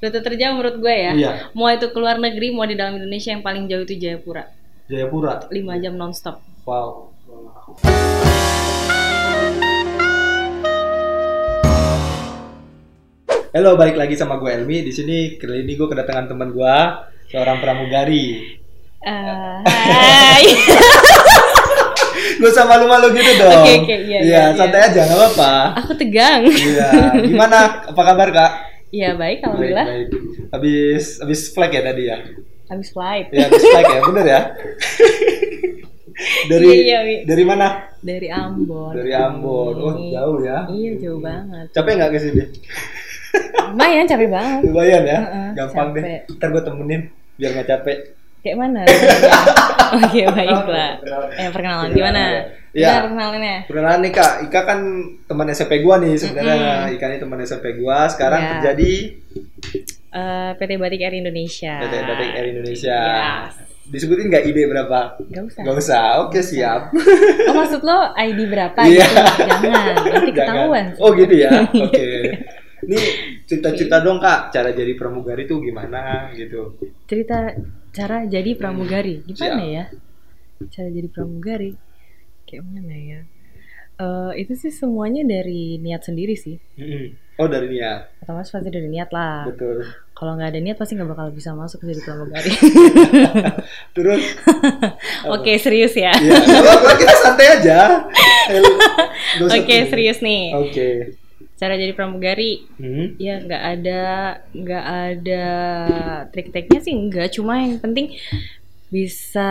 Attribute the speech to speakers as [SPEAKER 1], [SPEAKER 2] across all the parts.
[SPEAKER 1] rute terjauh menurut gue ya
[SPEAKER 2] Iya.
[SPEAKER 1] mau itu keluar negeri mau di dalam Indonesia yang paling jauh itu Jayapura
[SPEAKER 2] Jayapura.
[SPEAKER 1] 5 jam nonstop
[SPEAKER 2] Wow. Halo, balik lagi sama gue Elmi. Di sini kali ini gue kedatangan teman gue, seorang pramugari.
[SPEAKER 1] Eh,
[SPEAKER 2] Iya.
[SPEAKER 1] Hai
[SPEAKER 2] Gue sama malu-malu gitu dong.
[SPEAKER 1] Oke, oke, iya, iya,
[SPEAKER 2] santai aja, nggak apa-apa.
[SPEAKER 1] aku tegang
[SPEAKER 2] Iya. Gimana? Apa kabar kak?
[SPEAKER 1] ya baik alhamdulillah
[SPEAKER 2] Baik, baik. Habis habis flag ya tadi ya.
[SPEAKER 1] habis flight
[SPEAKER 2] Ya habis flag ya, bener ya. dari
[SPEAKER 1] Iya, iya, Wi.
[SPEAKER 2] dari mana?
[SPEAKER 1] dari Ambon
[SPEAKER 2] Dari Ambon. Oh, jauh ya.
[SPEAKER 1] iya jauh banget
[SPEAKER 2] Capek nggak ke sini?
[SPEAKER 1] lumayan capek banget
[SPEAKER 2] Lumayan ya.
[SPEAKER 1] Heeh,
[SPEAKER 2] Gampang
[SPEAKER 1] capek.
[SPEAKER 2] deh. Ntar gue temenin biar nggak capek.
[SPEAKER 1] kayak mana oke baiklah eh perkenalan gimana
[SPEAKER 2] Iya.
[SPEAKER 1] gimana perkenalannya
[SPEAKER 2] Beneran nih Kak, Ika kan teman SMP gua nih sebenarnya. Ika ini teman SMP gua, sekarang
[SPEAKER 1] Iya.
[SPEAKER 2] kerja di
[SPEAKER 1] Eh, PT Batik Air Indonesia
[SPEAKER 2] PT Batik Air Indonesia.
[SPEAKER 1] Iya. Yes.
[SPEAKER 2] Disebutin nggak ID berapa?
[SPEAKER 1] Gak usah.
[SPEAKER 2] Gak usah, oke siap.
[SPEAKER 1] Oh maksud lo ID berapa
[SPEAKER 2] Iya.
[SPEAKER 1] gitu? Jangan, nanti ketahuan. Iya.
[SPEAKER 2] Jangan. Oh gitu ya. Oke. Ini cerita-cerita dong kak, cara jadi pramugari tuh gimana gitu.
[SPEAKER 1] Cerita cara jadi pramugari gimana
[SPEAKER 2] Hmm, Siap.
[SPEAKER 1] ya? Cara jadi pramugari kayak mana ya? Eh, itu sih semuanya dari niat sendiri sih.
[SPEAKER 2] Oh dari niat,
[SPEAKER 1] Otomatis pasti dari niat lah.
[SPEAKER 2] betul.
[SPEAKER 1] Kalau nggak ada niat pasti nggak bakal bisa masuk jadi pramugari.
[SPEAKER 2] Terus,
[SPEAKER 1] Oke serius ya.
[SPEAKER 2] ya, nggak apa-apa, kita santai aja. Hel- nggak usah
[SPEAKER 1] Oke
[SPEAKER 2] tegang.
[SPEAKER 1] serius nih.
[SPEAKER 2] Oke.
[SPEAKER 1] Cara jadi pramugari
[SPEAKER 2] Hmm.
[SPEAKER 1] ya nggak ada nggak ada trik-triknya sih nggak cuma yang penting bisa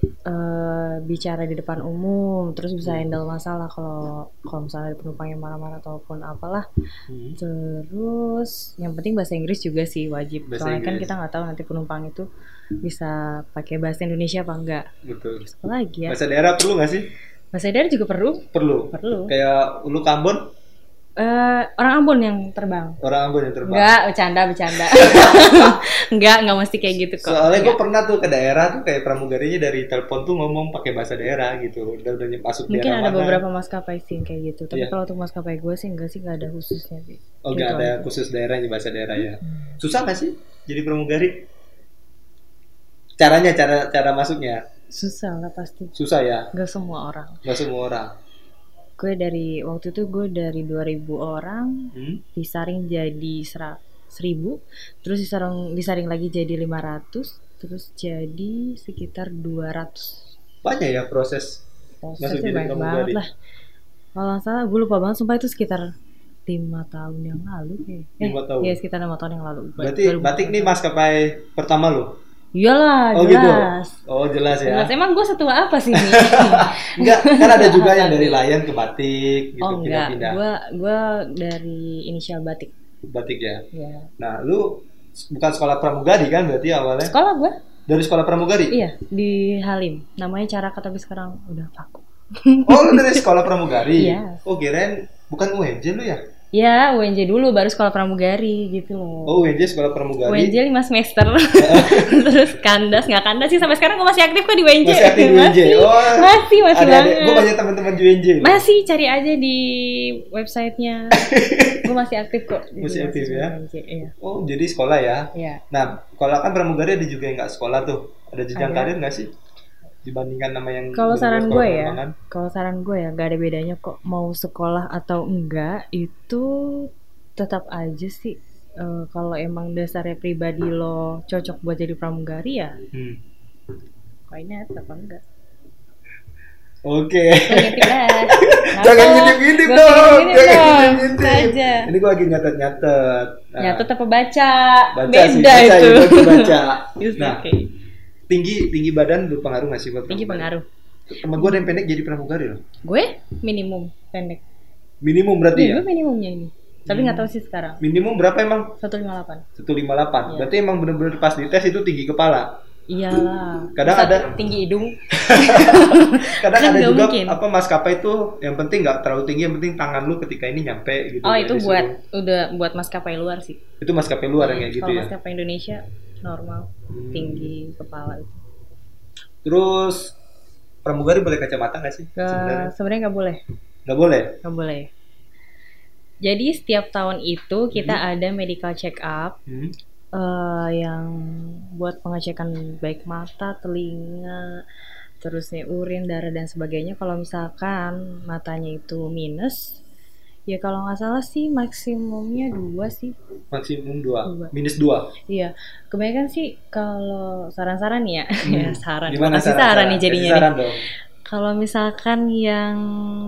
[SPEAKER 1] eh, bicara di depan umum terus bisa handle masalah kalau kalau misalnya ada penumpang yang marah-marah ataupun apalah
[SPEAKER 2] Hmm.
[SPEAKER 1] terus yang penting bahasa Inggris juga sih wajib
[SPEAKER 2] Bahasa
[SPEAKER 1] soalnya kan
[SPEAKER 2] Inggris.
[SPEAKER 1] kita nggak tahu nanti penumpang itu bisa pakai bahasa Indonesia apa enggak
[SPEAKER 2] Betul.
[SPEAKER 1] terus apa lagi ya
[SPEAKER 2] Gitu. Bahasa daerah perlu nggak sih?
[SPEAKER 1] bahasa daerah juga perlu
[SPEAKER 2] Perlu.
[SPEAKER 1] perlu
[SPEAKER 2] Kayak lu Ambon,
[SPEAKER 1] Eh, orang Ambon yang terbang
[SPEAKER 2] orang Ambon yang terbang.
[SPEAKER 1] Enggak, bercanda, bercanda. Enggak, enggak mesti kayak gitu kok.
[SPEAKER 2] Soalnya gue pernah tuh ke daerah tuh kayak pramugarinya dari telepon tuh ngomong pakai bahasa daerah gitu. Dan udah masuk
[SPEAKER 1] Mungkin
[SPEAKER 2] daerah
[SPEAKER 1] ada
[SPEAKER 2] mana.
[SPEAKER 1] beberapa maskapai sih yang kayak gitu. Tapi
[SPEAKER 2] Iya.
[SPEAKER 1] kalau untuk maskapai gue sih enggak sih enggak ada khususnya sih. Gitu
[SPEAKER 2] Oh nggak ada khusus daerahnya bahasa daerah ya.
[SPEAKER 1] Hmm.
[SPEAKER 2] Susah nggak sih jadi pramugari? Caranya cara cara masuknya
[SPEAKER 1] Susah lah pasti.
[SPEAKER 2] susah ya.
[SPEAKER 1] Enggak semua orang.
[SPEAKER 2] Gak semua orang.
[SPEAKER 1] Gue dari waktu itu gue dari 2000 orang
[SPEAKER 2] Hmm?
[SPEAKER 1] disaring jadi sera- 1000, terus disaring disaring lagi jadi 500, terus jadi sekitar 200.
[SPEAKER 2] Banyak ya proses. Masuk
[SPEAKER 1] Prosesnya
[SPEAKER 2] jadi
[SPEAKER 1] banyak
[SPEAKER 2] pramugari.
[SPEAKER 1] banget lah. Kalau nggak salah gue lupa banget sumpah itu sekitar lima tahun yang lalu kayak.
[SPEAKER 2] Lima tahun.
[SPEAKER 1] Iya sekitar lima tahun yang lalu.
[SPEAKER 2] Berarti batik nih maskapai pertama lo.
[SPEAKER 1] Iyalah
[SPEAKER 2] Oh gitu.
[SPEAKER 1] Ah, jelas.
[SPEAKER 2] Oh jelas
[SPEAKER 1] Jelas.
[SPEAKER 2] ya.
[SPEAKER 1] Emang gue setua apa sih Gitu, nih?
[SPEAKER 2] Gitu, Enggak, kan ada juga yang dari layan ke batik gitu
[SPEAKER 1] oh enggak,
[SPEAKER 2] pindah-pindah.
[SPEAKER 1] gue gue dari inisial batik.
[SPEAKER 2] Batik ya.
[SPEAKER 1] Ya.
[SPEAKER 2] Nah, lu s- bukan sekolah pramugari kan berarti awalnya?
[SPEAKER 1] Sekolah gue,
[SPEAKER 2] Dari sekolah pramugari?
[SPEAKER 1] iya di Halim. Namanya Caraka tapi sekarang udah vakum.
[SPEAKER 2] Oh, lu dari sekolah pramugari.
[SPEAKER 1] Iya.
[SPEAKER 2] Oh, kirain bukan UNJ lu ya?
[SPEAKER 1] Ya UNJ dulu baru sekolah pramugari gitu loh.
[SPEAKER 2] Oh, UNJ sekolah pramugari.
[SPEAKER 1] UNJ 5 semester terus kandas nggak kandas sih sampai sekarang gue masih aktif kok di UNJ
[SPEAKER 2] Masih aktif di UNJ?
[SPEAKER 1] masih
[SPEAKER 2] Oh.
[SPEAKER 1] Iya, masih, masih
[SPEAKER 2] ada ada
[SPEAKER 1] banget
[SPEAKER 2] gue banyak teman-teman di UNJ
[SPEAKER 1] masih cari aja di websitenya gue masih aktif kok di
[SPEAKER 2] Masih aktif
[SPEAKER 1] di
[SPEAKER 2] ya?
[SPEAKER 1] UNJ, iya
[SPEAKER 2] oh jadi sekolah ya
[SPEAKER 1] Iya.
[SPEAKER 2] nah kalau kan pramugari ada juga yang nggak sekolah tuh ada jenjang
[SPEAKER 1] Ada.
[SPEAKER 2] karir nggak sih dibandingkan nama yang
[SPEAKER 1] kalau
[SPEAKER 2] benar-benar
[SPEAKER 1] saran
[SPEAKER 2] sekolah kan?
[SPEAKER 1] gue ya
[SPEAKER 2] penerbangan?
[SPEAKER 1] kalau saran gue ya nggak ada bedanya kok mau sekolah atau enggak itu tetap aja sih eh, kalau emang dasarnya pribadi lo cocok buat jadi pramugari ya
[SPEAKER 2] hmm.
[SPEAKER 1] why not apa enggak
[SPEAKER 2] oke
[SPEAKER 1] ngintip lah.
[SPEAKER 2] jangan
[SPEAKER 1] Kenapa?
[SPEAKER 2] ngintip-ngintip
[SPEAKER 1] Gua
[SPEAKER 2] dong
[SPEAKER 1] ngintip-ngintip
[SPEAKER 2] jangan
[SPEAKER 1] dong.
[SPEAKER 2] ngintip-ngintip
[SPEAKER 1] Saja.
[SPEAKER 2] ini gue lagi nyatet-nyatet Nah,
[SPEAKER 1] Iya. Nyatet apa Ya, baca?
[SPEAKER 2] baca
[SPEAKER 1] Beda
[SPEAKER 2] sih baca
[SPEAKER 1] itu.
[SPEAKER 2] ya, gua baca
[SPEAKER 1] Yes,
[SPEAKER 2] nah
[SPEAKER 1] oke.
[SPEAKER 2] tinggi tinggi badan berpengaruh nggak sih buat
[SPEAKER 1] Tinggi
[SPEAKER 2] pramugari?
[SPEAKER 1] pengaruh.
[SPEAKER 2] temen gue ada yang pendek jadi pramugari loh
[SPEAKER 1] Gue minimum pendek.
[SPEAKER 2] minimum berarti
[SPEAKER 1] Iya,
[SPEAKER 2] ya Hmm.
[SPEAKER 1] gue minimumnya ini. Tapi nggak tahu sih sekarang.
[SPEAKER 2] minimum berapa emang
[SPEAKER 1] 158.
[SPEAKER 2] 158
[SPEAKER 1] Iya.
[SPEAKER 2] berarti emang bener-bener pas dites itu tinggi kepala
[SPEAKER 1] Iyalah.
[SPEAKER 2] Kadang
[SPEAKER 1] Masa
[SPEAKER 2] ada- Gitu
[SPEAKER 1] tinggi hidung.
[SPEAKER 2] kadang
[SPEAKER 1] Kan
[SPEAKER 2] ada
[SPEAKER 1] nggak
[SPEAKER 2] juga
[SPEAKER 1] mungkin.
[SPEAKER 2] apa maskapai itu yang penting nggak terlalu tinggi yang penting tangan lu ketika ini nyampe gitu
[SPEAKER 1] Oh,
[SPEAKER 2] ya,
[SPEAKER 1] itu
[SPEAKER 2] disuruh.
[SPEAKER 1] buat udah buat maskapai luar sih.
[SPEAKER 2] itu maskapai luar yang kayak gitu
[SPEAKER 1] Kalau
[SPEAKER 2] ya
[SPEAKER 1] maskapai Indonesia normal
[SPEAKER 2] Hmm.
[SPEAKER 1] tinggi kepala itu.
[SPEAKER 2] terus pramugari boleh kacamata nggak
[SPEAKER 1] Eh,
[SPEAKER 2] sih
[SPEAKER 1] Nggak-
[SPEAKER 2] sebenarnya
[SPEAKER 1] Sebenarnya nggak boleh.
[SPEAKER 2] nggak boleh
[SPEAKER 1] Nggak boleh. Jadi setiap tahun itu kita ada medical check up
[SPEAKER 2] Hmm.
[SPEAKER 1] eh, yang buat pengecekan baik mata, telinga, terusnya urin, darah dan sebagainya. Kalau misalkan matanya itu minus, ya kalau nggak salah sih maksimumnya dua sih.
[SPEAKER 2] Maksimum dua,
[SPEAKER 1] Dua.
[SPEAKER 2] minus dua.
[SPEAKER 1] Iya, kebanyakan sih kalau saran-saran ya, ya saran.
[SPEAKER 2] Hmm. Gimana
[SPEAKER 1] Makasih saran, nih
[SPEAKER 2] Kasih
[SPEAKER 1] jadinya. nih.
[SPEAKER 2] Saran dong.
[SPEAKER 1] Kalau misalkan yang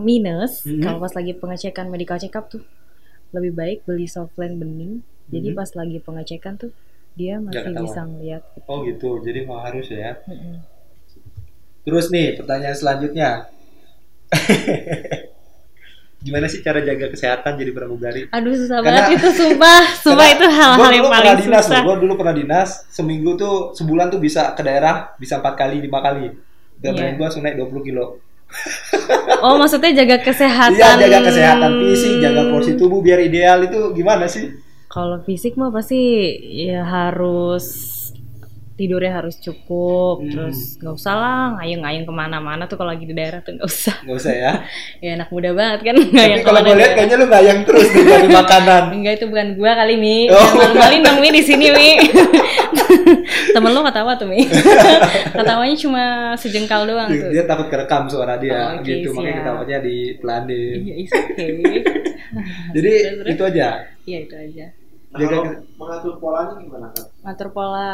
[SPEAKER 1] minus,
[SPEAKER 2] Mhm.
[SPEAKER 1] kalau pas lagi pengecekan medical check up tuh lebih baik beli softlens bening. Jadi
[SPEAKER 2] Mhm.
[SPEAKER 1] pas lagi pengecekan tuh dia masih
[SPEAKER 2] ketahuan.
[SPEAKER 1] bisa ngeliat.
[SPEAKER 2] Oh gitu, jadi mau harus ya.
[SPEAKER 1] Mm-mm.
[SPEAKER 2] Terus nih pertanyaan selanjutnya. Gimana sih cara jaga kesehatan jadi pramugari?
[SPEAKER 1] Aduh susah
[SPEAKER 2] Karena-
[SPEAKER 1] banget itu sumpah, sumpah
[SPEAKER 2] Karena
[SPEAKER 1] itu hal-hal
[SPEAKER 2] gua
[SPEAKER 1] yang
[SPEAKER 2] dulu
[SPEAKER 1] paling
[SPEAKER 2] pernah dinas,
[SPEAKER 1] susah.
[SPEAKER 2] Gue dulu pernah dinas, seminggu tuh sebulan tuh bisa ke daerah bisa empat kali lima kali. Dan
[SPEAKER 1] Iya.
[SPEAKER 2] yeah. gue sunai 20 kilo.
[SPEAKER 1] Oh maksudnya jaga kesehatan.
[SPEAKER 2] Iya jaga kesehatan fisik, jaga porsi tubuh biar ideal itu gimana sih?
[SPEAKER 1] Kalau fisik mah pasti ya harus tidurnya harus cukup,
[SPEAKER 2] Hmm.
[SPEAKER 1] terus nggak usah lah ngayung-ngayung kemana-mana tuh kalau lagi di daerah tuh nggak usah.
[SPEAKER 2] Gak usah ya.
[SPEAKER 1] Ya anak muda banget kan
[SPEAKER 2] Tapi
[SPEAKER 1] ngayang
[SPEAKER 2] kalau gue lihat
[SPEAKER 1] kemana-mana.
[SPEAKER 2] kan- kayaknya lu ngayang terus nih dari makanan.
[SPEAKER 1] Enggak itu bukan gua kali Mi.
[SPEAKER 2] Oh.
[SPEAKER 1] Bang Malin dong Mi di sini Mi. Temen lu ketawa tuh Mi. Ketawanya cuma sejengkal doang
[SPEAKER 2] Dia,
[SPEAKER 1] tuh.
[SPEAKER 2] Iya, dia takut kerekam suara dia
[SPEAKER 1] Oh, oke,
[SPEAKER 2] gitu makanya
[SPEAKER 1] siap.
[SPEAKER 2] ketawanya dipelanin.
[SPEAKER 1] Iya, it's okay.
[SPEAKER 2] Jadi
[SPEAKER 1] Terus, terus.
[SPEAKER 2] itu aja.
[SPEAKER 1] Iya itu aja.
[SPEAKER 3] Nah,
[SPEAKER 2] Jaga
[SPEAKER 3] kalau mengatur polanya gimana kan?
[SPEAKER 1] Ngatur pola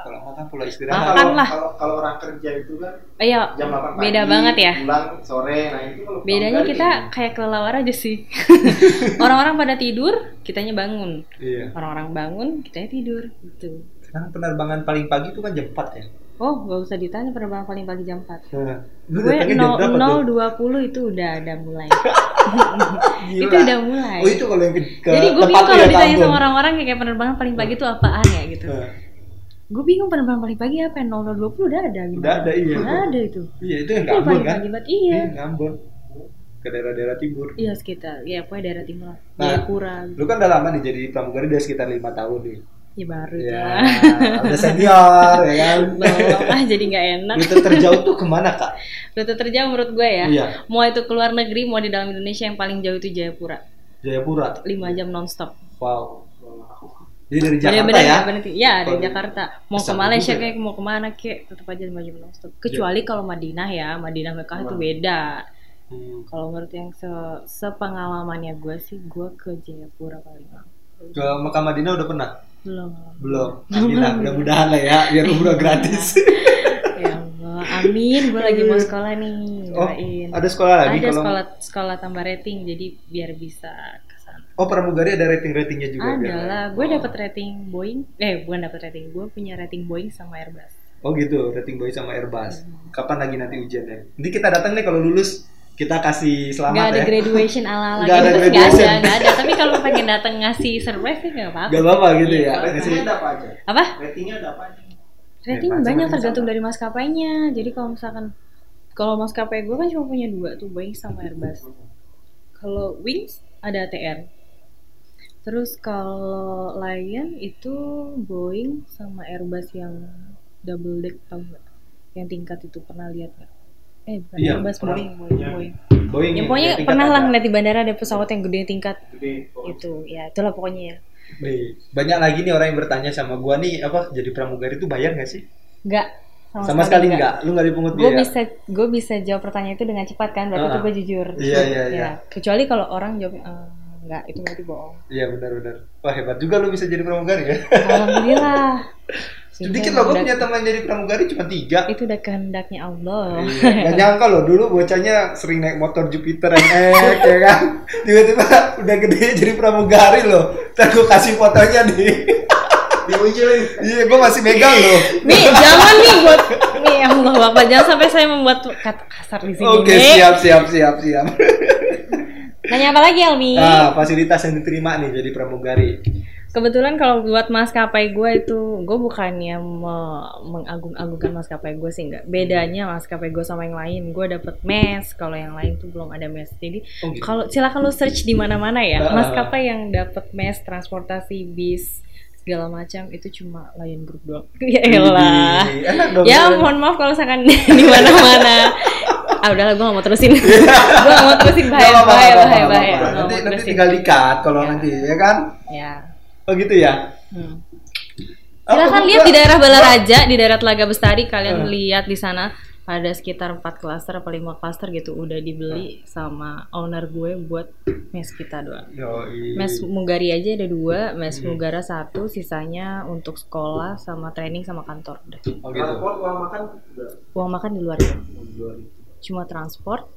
[SPEAKER 2] kalau makan pola
[SPEAKER 1] Makan
[SPEAKER 2] istirahat.
[SPEAKER 3] Kalau-
[SPEAKER 1] lah.
[SPEAKER 3] Kalau kalau orang kerja itu kan
[SPEAKER 1] Eh, Iya,
[SPEAKER 3] jam 8 pagi.
[SPEAKER 1] beda banget ya.
[SPEAKER 3] Pulang sore. Nah, itu kalau
[SPEAKER 1] Bedanya
[SPEAKER 3] pramugari,
[SPEAKER 1] kita kayak kelelawar aja sih. Orang-orang pada tidur, kitanya bangun.
[SPEAKER 2] Iya.
[SPEAKER 1] Orang-orang bangun, kitanya tidur gitu.
[SPEAKER 2] Sekarang penerbangan paling pagi itu kan jam 4 ya.
[SPEAKER 1] Oh, gak usah ditanya penerbangan paling pagi jam 4.
[SPEAKER 2] Nah, lu
[SPEAKER 1] Gue
[SPEAKER 2] datangnya jam berapa tuh?
[SPEAKER 1] 0.20 itu udah ada mulai.
[SPEAKER 2] Gila.
[SPEAKER 1] itu udah mulai.
[SPEAKER 2] Oh itu kalau yang ke ke
[SPEAKER 1] Jadi gue bingung
[SPEAKER 2] tempat lu
[SPEAKER 1] kalau
[SPEAKER 2] ya
[SPEAKER 1] ditanya
[SPEAKER 2] kampung.
[SPEAKER 1] sama orang-orang kayak penerbangan paling pagi itu apaan ya gitu.
[SPEAKER 2] Nah,
[SPEAKER 1] Gue bingung penerbangan paling pagi apa? ya? 0020 udah ada gitu.
[SPEAKER 2] Udah ada, iya.
[SPEAKER 1] Udah ada itu.
[SPEAKER 2] Iya itu yang
[SPEAKER 1] Itu
[SPEAKER 2] Ambon
[SPEAKER 1] paling
[SPEAKER 2] kan?
[SPEAKER 1] pagi banget iya.
[SPEAKER 2] Iya, Ambon. Ke daerah-daerah timur.
[SPEAKER 1] Iya sekitar ya pokoknya daerah timur lah.
[SPEAKER 2] Nah.
[SPEAKER 1] Jayapura. gitu.
[SPEAKER 2] Lu kan udah lama nih jadi pramugari udah sekitar lima tahun nih.
[SPEAKER 1] Ya baru itu
[SPEAKER 2] Ya,
[SPEAKER 1] lah.
[SPEAKER 2] udah senior ya kan.
[SPEAKER 1] Belum ah jadi nggak enak.
[SPEAKER 2] Rute terjauh tuh kemana kak?
[SPEAKER 1] Rute terjauh menurut gue ya.
[SPEAKER 2] Iya,
[SPEAKER 1] Mau itu keluar negeri, mau di dalam Indonesia yang paling jauh itu Jayapura.
[SPEAKER 2] Jayapura.
[SPEAKER 1] 5 jam nonstop.
[SPEAKER 2] Wow.
[SPEAKER 3] kalau-
[SPEAKER 2] Jadi dari Jakarta
[SPEAKER 1] Bener-bener
[SPEAKER 2] ya?
[SPEAKER 1] nggak berhenti. Ya, dari
[SPEAKER 2] Kalau-
[SPEAKER 1] Jakarta. Mau ke
[SPEAKER 2] Sama
[SPEAKER 1] Malaysia
[SPEAKER 2] juga Iya. ya.
[SPEAKER 1] kayak mau kemana kek, tetap aja 5 jam nonstop. Kecuali kalau Madinah ya, Madinah Mekah itu
[SPEAKER 3] Wah.
[SPEAKER 1] beda.
[SPEAKER 2] Hmm.
[SPEAKER 1] Kalau menurut yang se sepengalamannya gue sih, gue ke Jayapura paling lama.
[SPEAKER 2] Ke Mekah Madinah udah pernah?
[SPEAKER 1] Belum.
[SPEAKER 2] Belum. Alhamdulillah, mudah-mudahan lah ya, biar umroh gratis.
[SPEAKER 1] ya Allah, amin. Gue lagi mau sekolah nih.
[SPEAKER 2] Oh,
[SPEAKER 1] doain.
[SPEAKER 2] ada sekolah lagi
[SPEAKER 1] Ada
[SPEAKER 2] kalau
[SPEAKER 1] sekolah sekolah tambah rating, jadi biar bisa ke sana.
[SPEAKER 2] Oh, pramugari ada rating-ratingnya juga biar- Oh.
[SPEAKER 1] Adalah, gue dapet rating Boeing, eh bukan dapet rating, gue punya rating Boeing sama Airbus.
[SPEAKER 2] Oh gitu, rating boy sama Airbus.
[SPEAKER 1] Iya.
[SPEAKER 2] Kapan lagi nanti ujiannya? Nanti kita datang nih kalau lulus, kita
[SPEAKER 1] gak
[SPEAKER 2] kasih selamat
[SPEAKER 1] ada
[SPEAKER 2] ya.
[SPEAKER 1] graduation ala ala
[SPEAKER 2] Nggak ada
[SPEAKER 1] gitu, nggak ada,
[SPEAKER 2] graduation.
[SPEAKER 1] nggak ada. Tapi kalau pengen datang ngasih surprise sih nggak apa-apa.
[SPEAKER 2] Gak apa-apa gitu
[SPEAKER 1] Iya,
[SPEAKER 2] ya.
[SPEAKER 3] Ratingnya
[SPEAKER 2] Kasih-
[SPEAKER 3] ada apa aja?
[SPEAKER 1] Apa?
[SPEAKER 3] Ratingnya ada apa aja?
[SPEAKER 1] Rating
[SPEAKER 2] macam-macam
[SPEAKER 1] banyak
[SPEAKER 2] sama.
[SPEAKER 1] tergantung dari maskapainya. Jadi kalau misalkan, kalau maskapai gue kan cuma punya dua tuh Boeing sama Airbus. Kalau Wings ada ATR. Terus kalau Lion itu Boeing sama Airbus yang double deck tau nggak? Yang tingkat itu pernah lihat nggak? Eh bukan
[SPEAKER 2] Iya,
[SPEAKER 1] Airbus
[SPEAKER 2] pernah.
[SPEAKER 1] Boeing, Boeing, Boeing.
[SPEAKER 2] Boeing.
[SPEAKER 1] Ya, pokoknya
[SPEAKER 2] rating
[SPEAKER 1] pernah
[SPEAKER 2] kata
[SPEAKER 1] lah
[SPEAKER 2] ada.
[SPEAKER 1] ngeliat di bandara ada pesawat yang gede tingkat
[SPEAKER 3] Gede. Oh,
[SPEAKER 1] itu. Ya itulah pokoknya ya.
[SPEAKER 2] Nih, banyak lagi nih orang yang bertanya sama gua nih apa jadi pramugari itu bayar nggak sih?
[SPEAKER 1] Nggak
[SPEAKER 2] Sama, sekali nggak. Lu nggak dipungut
[SPEAKER 1] gue
[SPEAKER 2] biaya.
[SPEAKER 1] bisa gue bisa jawab pertanyaan itu dengan cepat kan berarti
[SPEAKER 2] Ah.
[SPEAKER 1] itu gue jujur
[SPEAKER 2] Iya, iya,
[SPEAKER 1] Ya,
[SPEAKER 2] iya.
[SPEAKER 1] kecuali kalau orang jawab "Eh, enggak itu berarti bohong
[SPEAKER 2] Iya benar-benar. Wah hebat juga lu bisa jadi pramugari ya.
[SPEAKER 1] alhamdulillah
[SPEAKER 2] Sedikit
[SPEAKER 1] Itu
[SPEAKER 2] loh, gue
[SPEAKER 1] udah-
[SPEAKER 2] punya teman jadi pramugari cuma tiga.
[SPEAKER 1] itu udah kehendaknya Allah
[SPEAKER 2] Iya, Gak nyangka loh dulu bocahnya sering naik motor Jupiter NX ya kan tiba-tiba udah gede jadi pramugari loh ntar gue kasih fotonya nih
[SPEAKER 3] Dimunculin.
[SPEAKER 2] iya gue masih megang loh
[SPEAKER 1] Mi jangan nih buat Mi ya Allah bapak jangan sampai saya membuat kata kasar di sini
[SPEAKER 2] oke
[SPEAKER 1] Mi.
[SPEAKER 2] siap siap siap siap
[SPEAKER 1] nanya apa lagi Almi
[SPEAKER 2] nah, fasilitas yang diterima nih jadi pramugari
[SPEAKER 1] Kebetulan kalau buat maskapai gue itu, gue bukannya me- mengagung-agungkan maskapai gue sih enggak. Bedanya maskapai gue sama yang lain, gue dapet mes, kalau yang lain tuh belum ada mes. Jadi
[SPEAKER 2] Oh, gitu.
[SPEAKER 1] kalau silakan lo search di mana-mana ya,
[SPEAKER 2] Ah.
[SPEAKER 1] maskapai yang dapet mes, transportasi bis segala macam itu cuma Lion Group doang. ya elah.
[SPEAKER 2] Widih, enak dong
[SPEAKER 1] Ya
[SPEAKER 2] Ren.
[SPEAKER 1] mohon maaf kalau misalkan di mana-mana ah udahlah gue gak mau terusin gue gak mau terusin bahaya
[SPEAKER 2] Nggak apa-apa,
[SPEAKER 1] bahaya
[SPEAKER 2] nggak
[SPEAKER 1] bahaya
[SPEAKER 2] apa-apa,
[SPEAKER 1] bahaya
[SPEAKER 2] nggak apa-apa.
[SPEAKER 1] Nggak
[SPEAKER 2] Nanti
[SPEAKER 1] mau
[SPEAKER 2] nanti
[SPEAKER 1] terusin.
[SPEAKER 2] tinggal dikat kalau
[SPEAKER 1] Ya.
[SPEAKER 2] nanti ya kan.
[SPEAKER 1] ya
[SPEAKER 2] Oh gitu ya.
[SPEAKER 1] hmm.
[SPEAKER 2] Apa,
[SPEAKER 1] Silahkan
[SPEAKER 2] gua-
[SPEAKER 1] lihat di daerah
[SPEAKER 2] gua-
[SPEAKER 1] Balaraja, di daerah Telaga Bestari kalian
[SPEAKER 2] Eh.
[SPEAKER 1] lihat di sana ada sekitar 4 klaster apa 5 klaster gitu udah dibeli sama owner gue buat mes kita doang.
[SPEAKER 2] Yoi.
[SPEAKER 1] Mes Mugari aja ada dua, mes Mugara satu, sisanya untuk sekolah sama training sama kantor. Udah.
[SPEAKER 2] Oh gitu.
[SPEAKER 3] Transport uang makan juga.
[SPEAKER 1] Uang makan di luar itu.
[SPEAKER 3] Dua ribu.
[SPEAKER 1] Cuma transport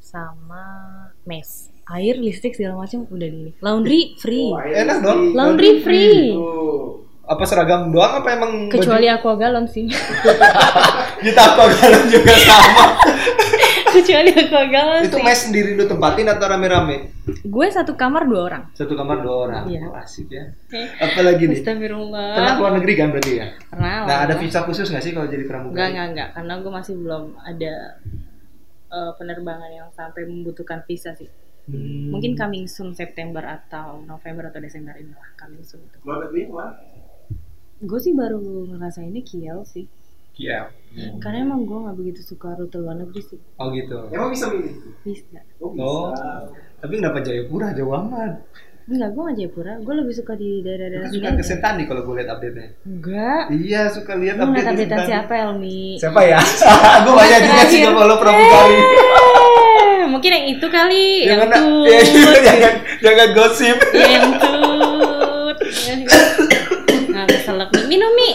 [SPEAKER 1] sama mes. Air, listrik segala macam udah di Laundry free.
[SPEAKER 3] Oh, air
[SPEAKER 2] Enak
[SPEAKER 3] isi.
[SPEAKER 2] dong.
[SPEAKER 1] Laundry free.
[SPEAKER 3] Tuh.
[SPEAKER 2] Apa seragam doang apa emang baju-
[SPEAKER 1] Kecuali aku galon sih.
[SPEAKER 2] Kita apa galon juga sama.
[SPEAKER 1] Kecuali aku galon
[SPEAKER 2] Itu
[SPEAKER 1] Iya, sih.
[SPEAKER 2] mes sendiri lu tempatin atau rame-rame?
[SPEAKER 1] Gue satu kamar dua orang.
[SPEAKER 2] Satu kamar dua orang.
[SPEAKER 1] Iya.
[SPEAKER 2] Oh, asik ya. Apalagi nih?
[SPEAKER 1] Astagfirullah.
[SPEAKER 2] Pernah luar negeri kan berarti ya?
[SPEAKER 1] Pernah
[SPEAKER 2] Nah, ada
[SPEAKER 1] lah.
[SPEAKER 2] visa khusus nggak sih kalau jadi pramugari?
[SPEAKER 1] Enggak, enggak, enggak. Karena gue masih belum ada eh, penerbangan yang sampai membutuhkan visa sih.
[SPEAKER 2] Hmm.
[SPEAKER 1] Mungkin coming soon September atau November atau Desember inilah coming soon itu.
[SPEAKER 3] Luar negeri mana?
[SPEAKER 1] Gue sih baru ngerasainnya Kiel sih.
[SPEAKER 2] Iya.
[SPEAKER 1] Karena emang gue nggak begitu suka rute luar negeri sih.
[SPEAKER 2] Oh gitu.
[SPEAKER 3] Emang bisa milih?
[SPEAKER 1] Bisa.
[SPEAKER 3] Oh, bisa.
[SPEAKER 2] Oh. Tapi kenapa Jayapura jauh amat?
[SPEAKER 1] Enggak, gue nggak Jayapura. Gue lebih suka di daerah-daerah
[SPEAKER 2] Itu
[SPEAKER 1] sini.
[SPEAKER 2] suka
[SPEAKER 1] aja.
[SPEAKER 2] kesetan nih kalau gue liat update-nya.
[SPEAKER 1] Enggak.
[SPEAKER 2] Iya, suka lihat
[SPEAKER 1] Lu ngeliat update
[SPEAKER 2] Sentani.
[SPEAKER 1] siapa Elmi?
[SPEAKER 2] Siapa ya? gue banyak juga sih
[SPEAKER 1] terakhir.
[SPEAKER 2] nggak follow pramugari.
[SPEAKER 1] Eh, Mungkin yang itu kali, yang, Iya,
[SPEAKER 2] mana-
[SPEAKER 1] tuh.
[SPEAKER 2] ya, iya, jangan jangan gosip.
[SPEAKER 1] Kentut. Nah, Iya, keselak nih. Minum, Mi.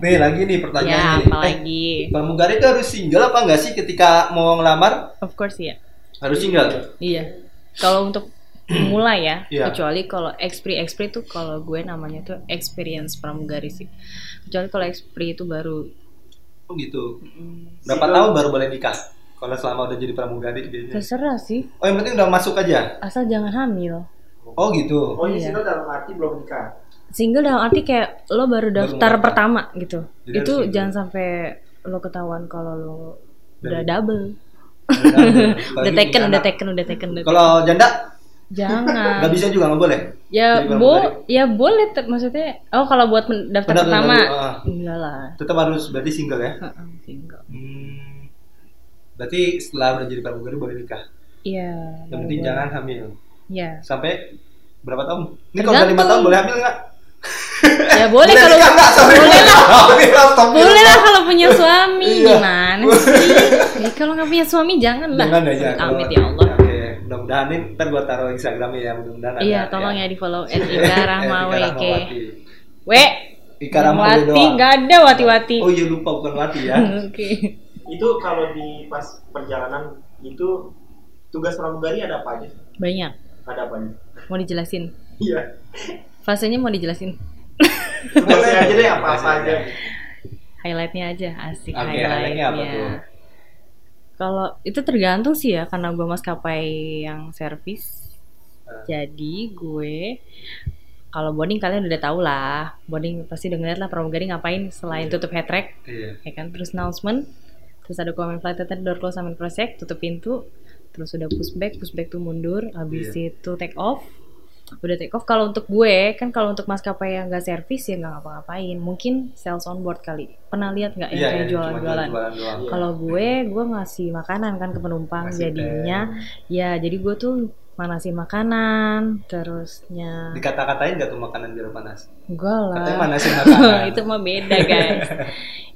[SPEAKER 2] Nih lagi nih pertanyaannya.
[SPEAKER 1] Ya,
[SPEAKER 2] nih. Eh,
[SPEAKER 1] apalagi.
[SPEAKER 2] pramugari itu harus single apa enggak sih ketika mau ngelamar?
[SPEAKER 1] Of course, ya.
[SPEAKER 2] Harus single.
[SPEAKER 1] Iya. Kalau untuk mulai ya,
[SPEAKER 2] Iya.
[SPEAKER 1] kecuali kalau expri expri tuh kalau gue namanya tuh experience pramugari sih. Kecuali kalau expri itu baru
[SPEAKER 2] Oh gitu.
[SPEAKER 1] mm,
[SPEAKER 2] Berapa
[SPEAKER 3] Single.
[SPEAKER 2] tahun baru boleh nikah? Kalau selama udah jadi pramugari kayaknya.
[SPEAKER 1] terserah sih,
[SPEAKER 2] Oh yang penting udah masuk aja.
[SPEAKER 1] asal jangan hamil.
[SPEAKER 2] Oh gitu.
[SPEAKER 3] Oh, ini
[SPEAKER 1] Iya.
[SPEAKER 3] single dalam arti belum nikah.
[SPEAKER 1] Single dalam arti kayak lo baru daftar
[SPEAKER 2] mulai.
[SPEAKER 1] pertama gitu.
[SPEAKER 2] Jadi
[SPEAKER 1] itu
[SPEAKER 2] harus single.
[SPEAKER 1] jangan sampai lo ketahuan kalau lo udah
[SPEAKER 2] Dan-
[SPEAKER 1] double.
[SPEAKER 2] Kalau
[SPEAKER 1] Udah
[SPEAKER 2] gitu,
[SPEAKER 1] taken, udah
[SPEAKER 2] anak.
[SPEAKER 1] taken, Ah. udah taken, udah taken.
[SPEAKER 2] Kalau janda
[SPEAKER 1] Jangan.
[SPEAKER 2] nggak bisa juga nggak boleh.
[SPEAKER 1] Ya
[SPEAKER 2] Jadi kalau
[SPEAKER 1] bo, ya boleh ter- maksudnya. Oh kalau buat men- daftar
[SPEAKER 2] Benar,
[SPEAKER 1] pertama,
[SPEAKER 2] benar, benar.
[SPEAKER 1] enggak lah.
[SPEAKER 2] Tetap harus berarti single ya.
[SPEAKER 1] Heeh, single.
[SPEAKER 2] Hmm, berarti setelah udah jadi pramugari boleh nikah.
[SPEAKER 1] Iya.
[SPEAKER 2] Yang penting
[SPEAKER 1] boleh.
[SPEAKER 2] jangan hamil.
[SPEAKER 1] Iya.
[SPEAKER 2] Sampai berapa tahun? Ini kalau udah lima
[SPEAKER 1] Tergantung.
[SPEAKER 2] tahun boleh hamil nggak?
[SPEAKER 1] Ya boleh kalau
[SPEAKER 2] nikah nggak? Sorry.
[SPEAKER 1] boleh lah.
[SPEAKER 2] Boleh lah. stop.
[SPEAKER 1] Boleh lah kalau punya suami
[SPEAKER 2] Iya.
[SPEAKER 1] gimana sih? Ya, kalau nggak punya suami jangan lah.
[SPEAKER 2] Jangan ya, jangan.
[SPEAKER 1] Amit ya Allah.
[SPEAKER 2] Oke, mudah-mudahan ini ntar gua taruh Instagramnya ya, Eh, mudah-mudahan. ada,
[SPEAKER 1] Iya, tolong ya di follow @ikarahmaweke.
[SPEAKER 2] Eh,
[SPEAKER 1] W.
[SPEAKER 2] Ika Rahmawati. Ika
[SPEAKER 1] Wati
[SPEAKER 2] doang.
[SPEAKER 1] nggak ada Wati-wati.
[SPEAKER 2] Oh iya lupa bukan Wati ya.
[SPEAKER 1] Oke.
[SPEAKER 3] Itu kalau di pas perjalanan itu tugas pramugari ada apa aja? sih?
[SPEAKER 1] Banyak.
[SPEAKER 3] Ada apa aja?
[SPEAKER 1] Mau dijelasin.
[SPEAKER 3] Iya.
[SPEAKER 1] Fasenya mau dijelasin.
[SPEAKER 3] Tugasnya aja deh apa apa aja.
[SPEAKER 1] Highlightnya aja, asik
[SPEAKER 2] Oke,
[SPEAKER 1] highlightnya.
[SPEAKER 2] highlightnya apa tuh?
[SPEAKER 1] Kalau itu tergantung sih ya, karena gue maskapai yang servis.
[SPEAKER 2] Eh.
[SPEAKER 1] Jadi gue kalau boarding kalian udah tau lah, boarding pasti udah ngeliat lah pramugari ngapain selain tutup head rack,
[SPEAKER 2] Iya.
[SPEAKER 1] ya kan? Terus announcement, terus ada comment flight attendant, door close sama cross check, tutup pintu, terus udah pushback, pushback tuh mundur, habis
[SPEAKER 2] Iya.
[SPEAKER 1] itu take off, udah take off. Kalau untuk gue kan kalau untuk maskapai yang gak servis ya nggak ngapa-ngapain, mungkin sales on board kali. Pernah lihat nggak yang
[SPEAKER 2] Iya,
[SPEAKER 1] kayak
[SPEAKER 2] iya, cuma
[SPEAKER 1] jualan-jualan?
[SPEAKER 2] jualan doang.
[SPEAKER 3] Iya.
[SPEAKER 1] Kalau gue, gue ngasih makanan kan ke penumpang
[SPEAKER 2] Masih
[SPEAKER 1] jadinya, ya jadi gue tuh manasin makanan, terusnya
[SPEAKER 2] Dikata-katain gak tuh makanan biar panas?
[SPEAKER 1] enggak
[SPEAKER 2] Katanya
[SPEAKER 1] lah,
[SPEAKER 2] manasin makanan.
[SPEAKER 1] Eh, itu mah beda guys,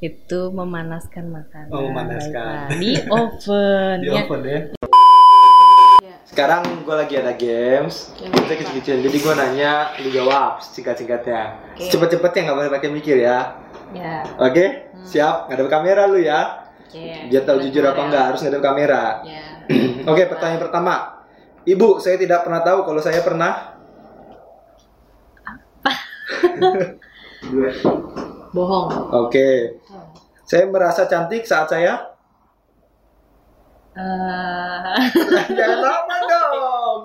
[SPEAKER 1] itu memanaskan makanan,
[SPEAKER 2] Oh, memanaskan.
[SPEAKER 1] baiklah. di oven,
[SPEAKER 2] di
[SPEAKER 1] ya.
[SPEAKER 2] oven ya. Sekarang gue lagi ada games. Kita kecil-kecil. Jadi gue nanya, lu jawab singkat-singkatnya.
[SPEAKER 1] Oke.
[SPEAKER 2] Cepet-cepet ya, nggak boleh pakai mikir ya.
[SPEAKER 1] ya,
[SPEAKER 2] Oke, siap. Ngadep kamera lu ya.
[SPEAKER 1] oke.
[SPEAKER 2] Biar tahu jujur apa enggak, harus ngadep kamera.
[SPEAKER 1] Ya,
[SPEAKER 2] Oke, pertanyaan pertama. Ibu, saya tidak pernah tahu kalau saya pernah
[SPEAKER 1] bohong.
[SPEAKER 2] Oke. Saya merasa cantik saat saya
[SPEAKER 1] Eh,
[SPEAKER 2] Jangan lama dong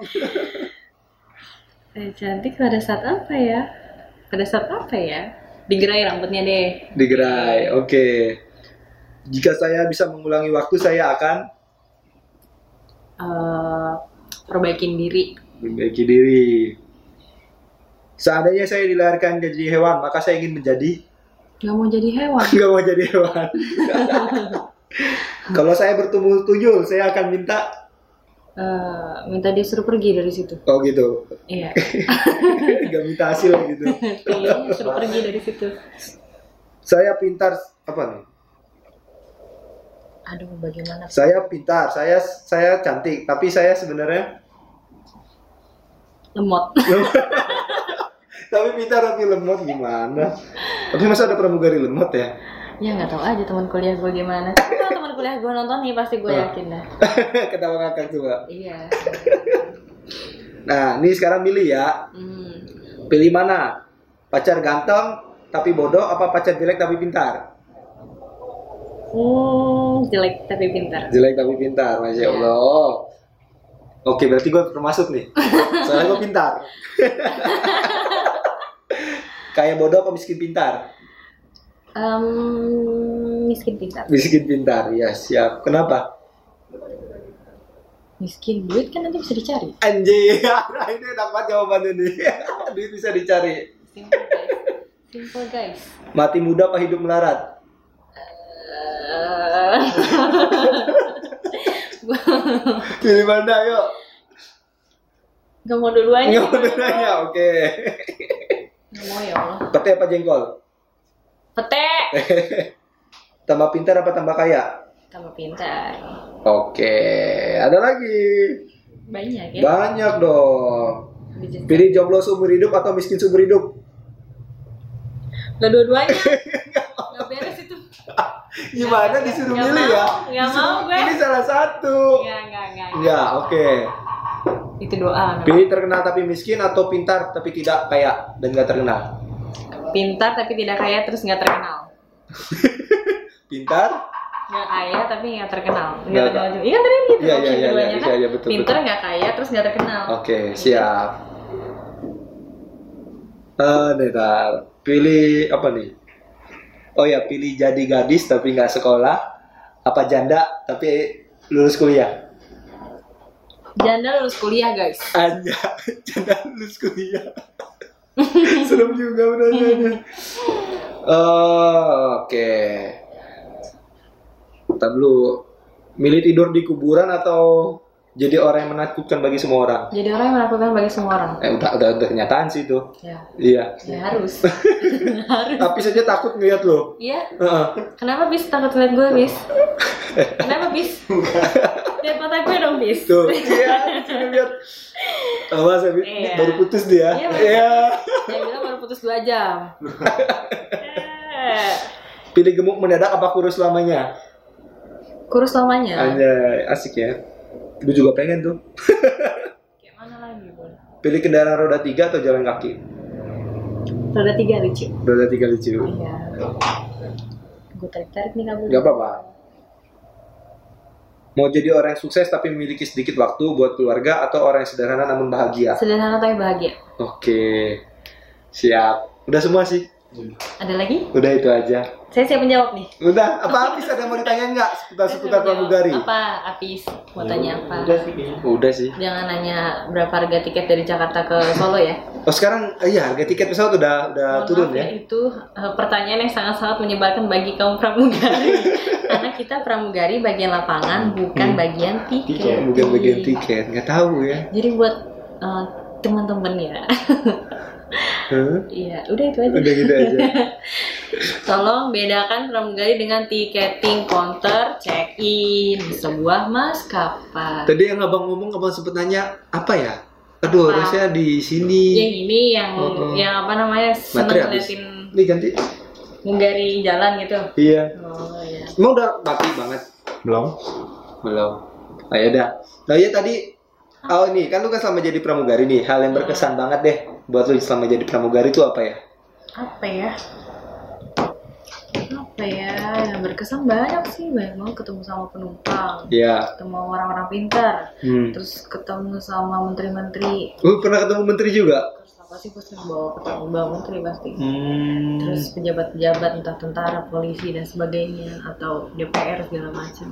[SPEAKER 1] eh, cantik pada saat apa ya? Pada saat apa ya? Digerai rambutnya deh.
[SPEAKER 2] Digerai, oke Jika saya bisa mengulangi waktu, saya akan
[SPEAKER 1] Eh, perbaikin diri.
[SPEAKER 2] memiliki diri. Seandainya saya dilahirkan jadi hewan, maka saya ingin menjadi
[SPEAKER 1] Gak mau jadi hewan.
[SPEAKER 2] nggak mau jadi hewan. Kalau saya bertemu tuyul, saya akan minta.
[SPEAKER 1] Eh, minta dia suruh pergi dari situ.
[SPEAKER 2] Oh gitu.
[SPEAKER 1] Iya.
[SPEAKER 2] Gak minta hasil gitu.
[SPEAKER 1] Kayaknya suruh pergi dari situ.
[SPEAKER 2] Saya pintar apa nih?
[SPEAKER 1] Aduh, bagaimana?
[SPEAKER 2] Saya pintar, saya saya cantik, tapi saya sebenarnya
[SPEAKER 1] Lemot.
[SPEAKER 2] tapi pintar tapi lemot gimana? Tapi masa ada pramugari lemot ya?
[SPEAKER 1] ya nggak tahu aja teman kuliah gue gimana. Tapi Kalau teman kuliah gue nonton nih pasti gue yakin dah.
[SPEAKER 2] Ketawa ngakak coba.
[SPEAKER 1] Iya.
[SPEAKER 2] Nah, ini sekarang milih ya.
[SPEAKER 1] Hmm.
[SPEAKER 2] Pilih mana? Pacar ganteng tapi bodoh apa pacar jelek tapi pintar?
[SPEAKER 1] Hmm, jelek tapi pintar.
[SPEAKER 2] Jelek tapi pintar, Masya
[SPEAKER 1] Iya.
[SPEAKER 2] Allah. Oke, berarti gue termasuk nih. Soalnya gue pintar. Kayak bodoh apa miskin pintar?
[SPEAKER 1] Em, miskin pintar.
[SPEAKER 2] Miskin pintar, ya siap. Kenapa?
[SPEAKER 1] Miskin duit kan nanti bisa dicari.
[SPEAKER 2] Anjir, ini enak banget jawabannya nih. Duit bisa dicari.
[SPEAKER 1] Simple guys. Simple guys.
[SPEAKER 2] Mati muda apa hidup melarat?
[SPEAKER 1] Eh,
[SPEAKER 2] Pilih mana yuk?
[SPEAKER 1] Nggak mau dua-duanya.
[SPEAKER 2] Nggak mau nanya, oke.
[SPEAKER 1] Nggak mau ya Allah.
[SPEAKER 2] Pete apa jengkol?
[SPEAKER 1] Pete.
[SPEAKER 2] Tambah pintar apa tambah kaya?
[SPEAKER 1] Tambah pintar.
[SPEAKER 2] Oke, ada lagi.
[SPEAKER 1] Banyak ya.
[SPEAKER 2] Banyak dong.
[SPEAKER 1] Bijak.
[SPEAKER 2] Pilih jomblo seumur hidup atau miskin seumur hidup?
[SPEAKER 1] Lah dua-duanya. Nggak beres itu.
[SPEAKER 2] Gimana disuruh
[SPEAKER 1] Nggak mau,
[SPEAKER 2] milih ya?
[SPEAKER 1] nggak
[SPEAKER 2] Disuruh-
[SPEAKER 1] mau gue.
[SPEAKER 2] Ini salah satu.
[SPEAKER 1] Nggak, nggak, nggak.
[SPEAKER 2] Ya, oke.
[SPEAKER 1] Itu doa. memang.
[SPEAKER 2] Pilih terkenal tapi miskin atau pintar tapi tidak kaya dan gak terkenal?
[SPEAKER 1] Pintar tapi tidak kaya terus nggak terkenal.
[SPEAKER 2] Pintar?
[SPEAKER 1] Nggak kaya tapi nggak terkenal.
[SPEAKER 2] Nggak
[SPEAKER 1] Nggak terkenal juga. Iya tadi kan gitu.
[SPEAKER 2] Iya,
[SPEAKER 1] option
[SPEAKER 2] iya, iya,
[SPEAKER 1] duanya
[SPEAKER 2] iya,
[SPEAKER 1] kan.
[SPEAKER 2] iya, betul, Oh.
[SPEAKER 1] Pintar
[SPEAKER 2] betul.
[SPEAKER 1] nggak kaya terus nggak terkenal.
[SPEAKER 2] Oke, siap. Eh, bentar. Pilih apa nih? Oh ya, pilih jadi gadis tapi nggak sekolah, apa janda tapi lulus kuliah.
[SPEAKER 1] Janda lulus kuliah guys.
[SPEAKER 2] Anja, janda lulus kuliah. Serem juga benar-benar. Oh, oke. Bentar dulu. Milih tidur di kuburan atau jadi orang yang menakutkan bagi semua orang?
[SPEAKER 1] Jadi orang yang melakukan bagi semua orang.
[SPEAKER 2] Eh, udah, udah, udah kenyataan sih itu.
[SPEAKER 1] Ya,
[SPEAKER 2] Iya.
[SPEAKER 1] ya harus.
[SPEAKER 2] Tapi saja takut ngeliat lo.
[SPEAKER 1] Iya.
[SPEAKER 2] Heeh.
[SPEAKER 1] Kenapa bis takut ngeliat gue bis? Kenapa bis? Lihat mata gue dong bis.
[SPEAKER 2] Tuh. Iya. Sini lihat. Apa saya bilang, ini
[SPEAKER 1] Iya.
[SPEAKER 2] baru putus dia.
[SPEAKER 1] Iya, baru
[SPEAKER 2] Iya.
[SPEAKER 1] Dia bilang baru putus dua jam. Eh,
[SPEAKER 2] Pilih gemuk mendadak apa kurus selamanya?
[SPEAKER 1] Kurus lamanya.
[SPEAKER 2] Anjay, asik ya. Lu juga pengen tuh.
[SPEAKER 1] Kayak mana lagi? Bun?
[SPEAKER 2] Pilih kendaraan roda tiga atau jalan kaki?
[SPEAKER 1] Roda tiga lucu.
[SPEAKER 2] Roda tiga lucu.
[SPEAKER 1] Iya. Gue tarik-tarik nih kabel.
[SPEAKER 2] Gak apa-apa. Mau jadi orang yang sukses tapi memiliki sedikit waktu buat keluarga atau orang yang sederhana namun bahagia?
[SPEAKER 1] Sederhana tapi bahagia.
[SPEAKER 2] Oke. Siap. Udah semua sih.
[SPEAKER 1] Ada lagi?
[SPEAKER 2] Udah itu aja.
[SPEAKER 1] Saya siap menjawab nih.
[SPEAKER 2] Udah, apa habis ada yang mau ditanya nggak seputar-seputar pramugari?
[SPEAKER 1] Apa, Apis? Mau tanya apa?
[SPEAKER 3] Udah sih kayaknya.
[SPEAKER 2] Udah sih.
[SPEAKER 1] Jangan nanya berapa harga tiket dari Jakarta ke Solo ya.
[SPEAKER 2] Oh sekarang, eh, iya harga tiket pesawat udah udah
[SPEAKER 1] Mohon
[SPEAKER 2] turun
[SPEAKER 1] maaf
[SPEAKER 2] ya?
[SPEAKER 1] Itu eh, pertanyaan yang sangat-sangat menyebalkan bagi kaum pramugari. Karena kita pramugari bagian lapangan, bukan bagian
[SPEAKER 3] Tiket,
[SPEAKER 1] tiket.
[SPEAKER 2] Hmm. Bukan bagian tiket, nggak tahu ya.
[SPEAKER 1] Jadi buat eh, teman-teman ya.
[SPEAKER 2] Hah?
[SPEAKER 1] Iya, udah itu aja.
[SPEAKER 2] Udah gitu aja.
[SPEAKER 1] Tolong bedakan pramugari dengan tiketing counter check-in di sebuah maskapai.
[SPEAKER 2] Tadi yang abang ngomong, abang sempet nanya apa ya? Aduh,
[SPEAKER 1] Apa?
[SPEAKER 2] harusnya
[SPEAKER 1] Yang
[SPEAKER 2] di sini.
[SPEAKER 1] ini yang
[SPEAKER 2] Iya. Mm-mm.
[SPEAKER 1] yang apa namanya seneng
[SPEAKER 2] Baterai habis.
[SPEAKER 1] ngeliatin
[SPEAKER 2] Ini ganti.
[SPEAKER 1] pramugari jalan gitu.
[SPEAKER 2] Iya.
[SPEAKER 1] Oh iya.
[SPEAKER 2] Emang udah mati banget?
[SPEAKER 3] Belum.
[SPEAKER 2] Belum. Nah, ya udah. Nah, iya tadi Oh ini kan lu kan selama jadi pramugari nih hal yang berkesan banget deh buat lu selama jadi pramugari itu apa ya?
[SPEAKER 1] apa ya apa ya yang berkesan banyak sih banyak banget ketemu sama penumpang
[SPEAKER 2] Iya.
[SPEAKER 1] ketemu orang-orang pintar
[SPEAKER 2] Hmm.
[SPEAKER 1] terus ketemu sama menteri-menteri
[SPEAKER 2] Lu pernah ketemu menteri juga?
[SPEAKER 1] terus apa sih gue sering bawa ketemu bawa menteri pasti
[SPEAKER 2] Hmm.
[SPEAKER 1] terus pejabat-pejabat entah tentara polisi dan sebagainya atau DPR segala macam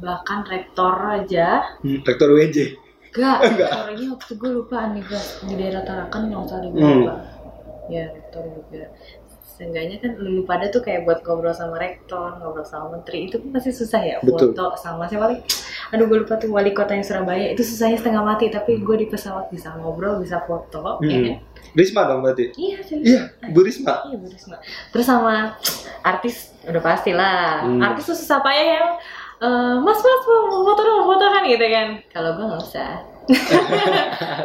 [SPEAKER 1] bahkan rektor aja
[SPEAKER 2] Hmm, rektor WJ.
[SPEAKER 1] gak rektornya waktu gue lupa nih guys di daerah Tarakan nggak usah dibawa
[SPEAKER 2] Hmm.
[SPEAKER 1] ya rektor juga seenggaknya kan lu pada tuh kayak buat ngobrol sama rektor, ngobrol sama menteri itu kan pasti susah ya
[SPEAKER 2] Betul.
[SPEAKER 1] foto sama siapa lagi aduh gue lupa tuh wali kotanya Surabaya itu susahnya setengah mati tapi gue di pesawat bisa ngobrol bisa foto ya
[SPEAKER 2] Hmm.
[SPEAKER 1] kan?
[SPEAKER 2] Risma dong berarti.
[SPEAKER 1] iya sih
[SPEAKER 2] Iya, Bu Risma.
[SPEAKER 1] Iya Bu Risma. Terus sama artis udah pasti lah.
[SPEAKER 2] Hmm.
[SPEAKER 1] Artis tuh susah payah yang eh, mas mas mau mau foto dong mau foto kan gitu kan. Kalau gue nggak usah. Mas,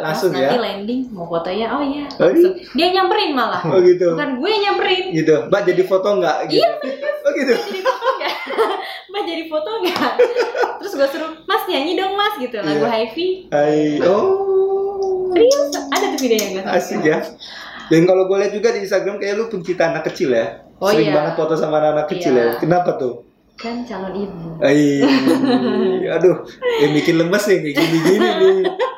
[SPEAKER 2] Langsung
[SPEAKER 1] nanti
[SPEAKER 2] ya.
[SPEAKER 1] landing mau fotonya oh iya.
[SPEAKER 2] Oh, iya.
[SPEAKER 1] Langsung. Dia nyamperin malah.
[SPEAKER 2] Oh gitu.
[SPEAKER 1] Bukan gue yang nyamperin.
[SPEAKER 2] Gitu. Mbak jadi foto nggak? Gitu.
[SPEAKER 1] Iya,
[SPEAKER 2] Oh gitu.
[SPEAKER 1] Jadi foto nggak? Mbak jadi foto nggak? Terus gue suruh mas nyanyi dong mas gitu lagu
[SPEAKER 2] Iya.
[SPEAKER 1] Hifi.
[SPEAKER 2] Hai. Oh.
[SPEAKER 1] Serius ada tuh videonya gue.
[SPEAKER 2] Asik ya. Dan kalau gue lihat juga di Instagram kayak lu pencinta anak kecil ya.
[SPEAKER 1] Oh,
[SPEAKER 2] Sering
[SPEAKER 1] iya.
[SPEAKER 2] banget foto sama anak-anak kecil
[SPEAKER 1] Iya.
[SPEAKER 2] ya. Kenapa tuh?
[SPEAKER 1] Kan calon ibu.
[SPEAKER 2] Ay, aduh, yang bikin lemes ya kayak gini-gini nih.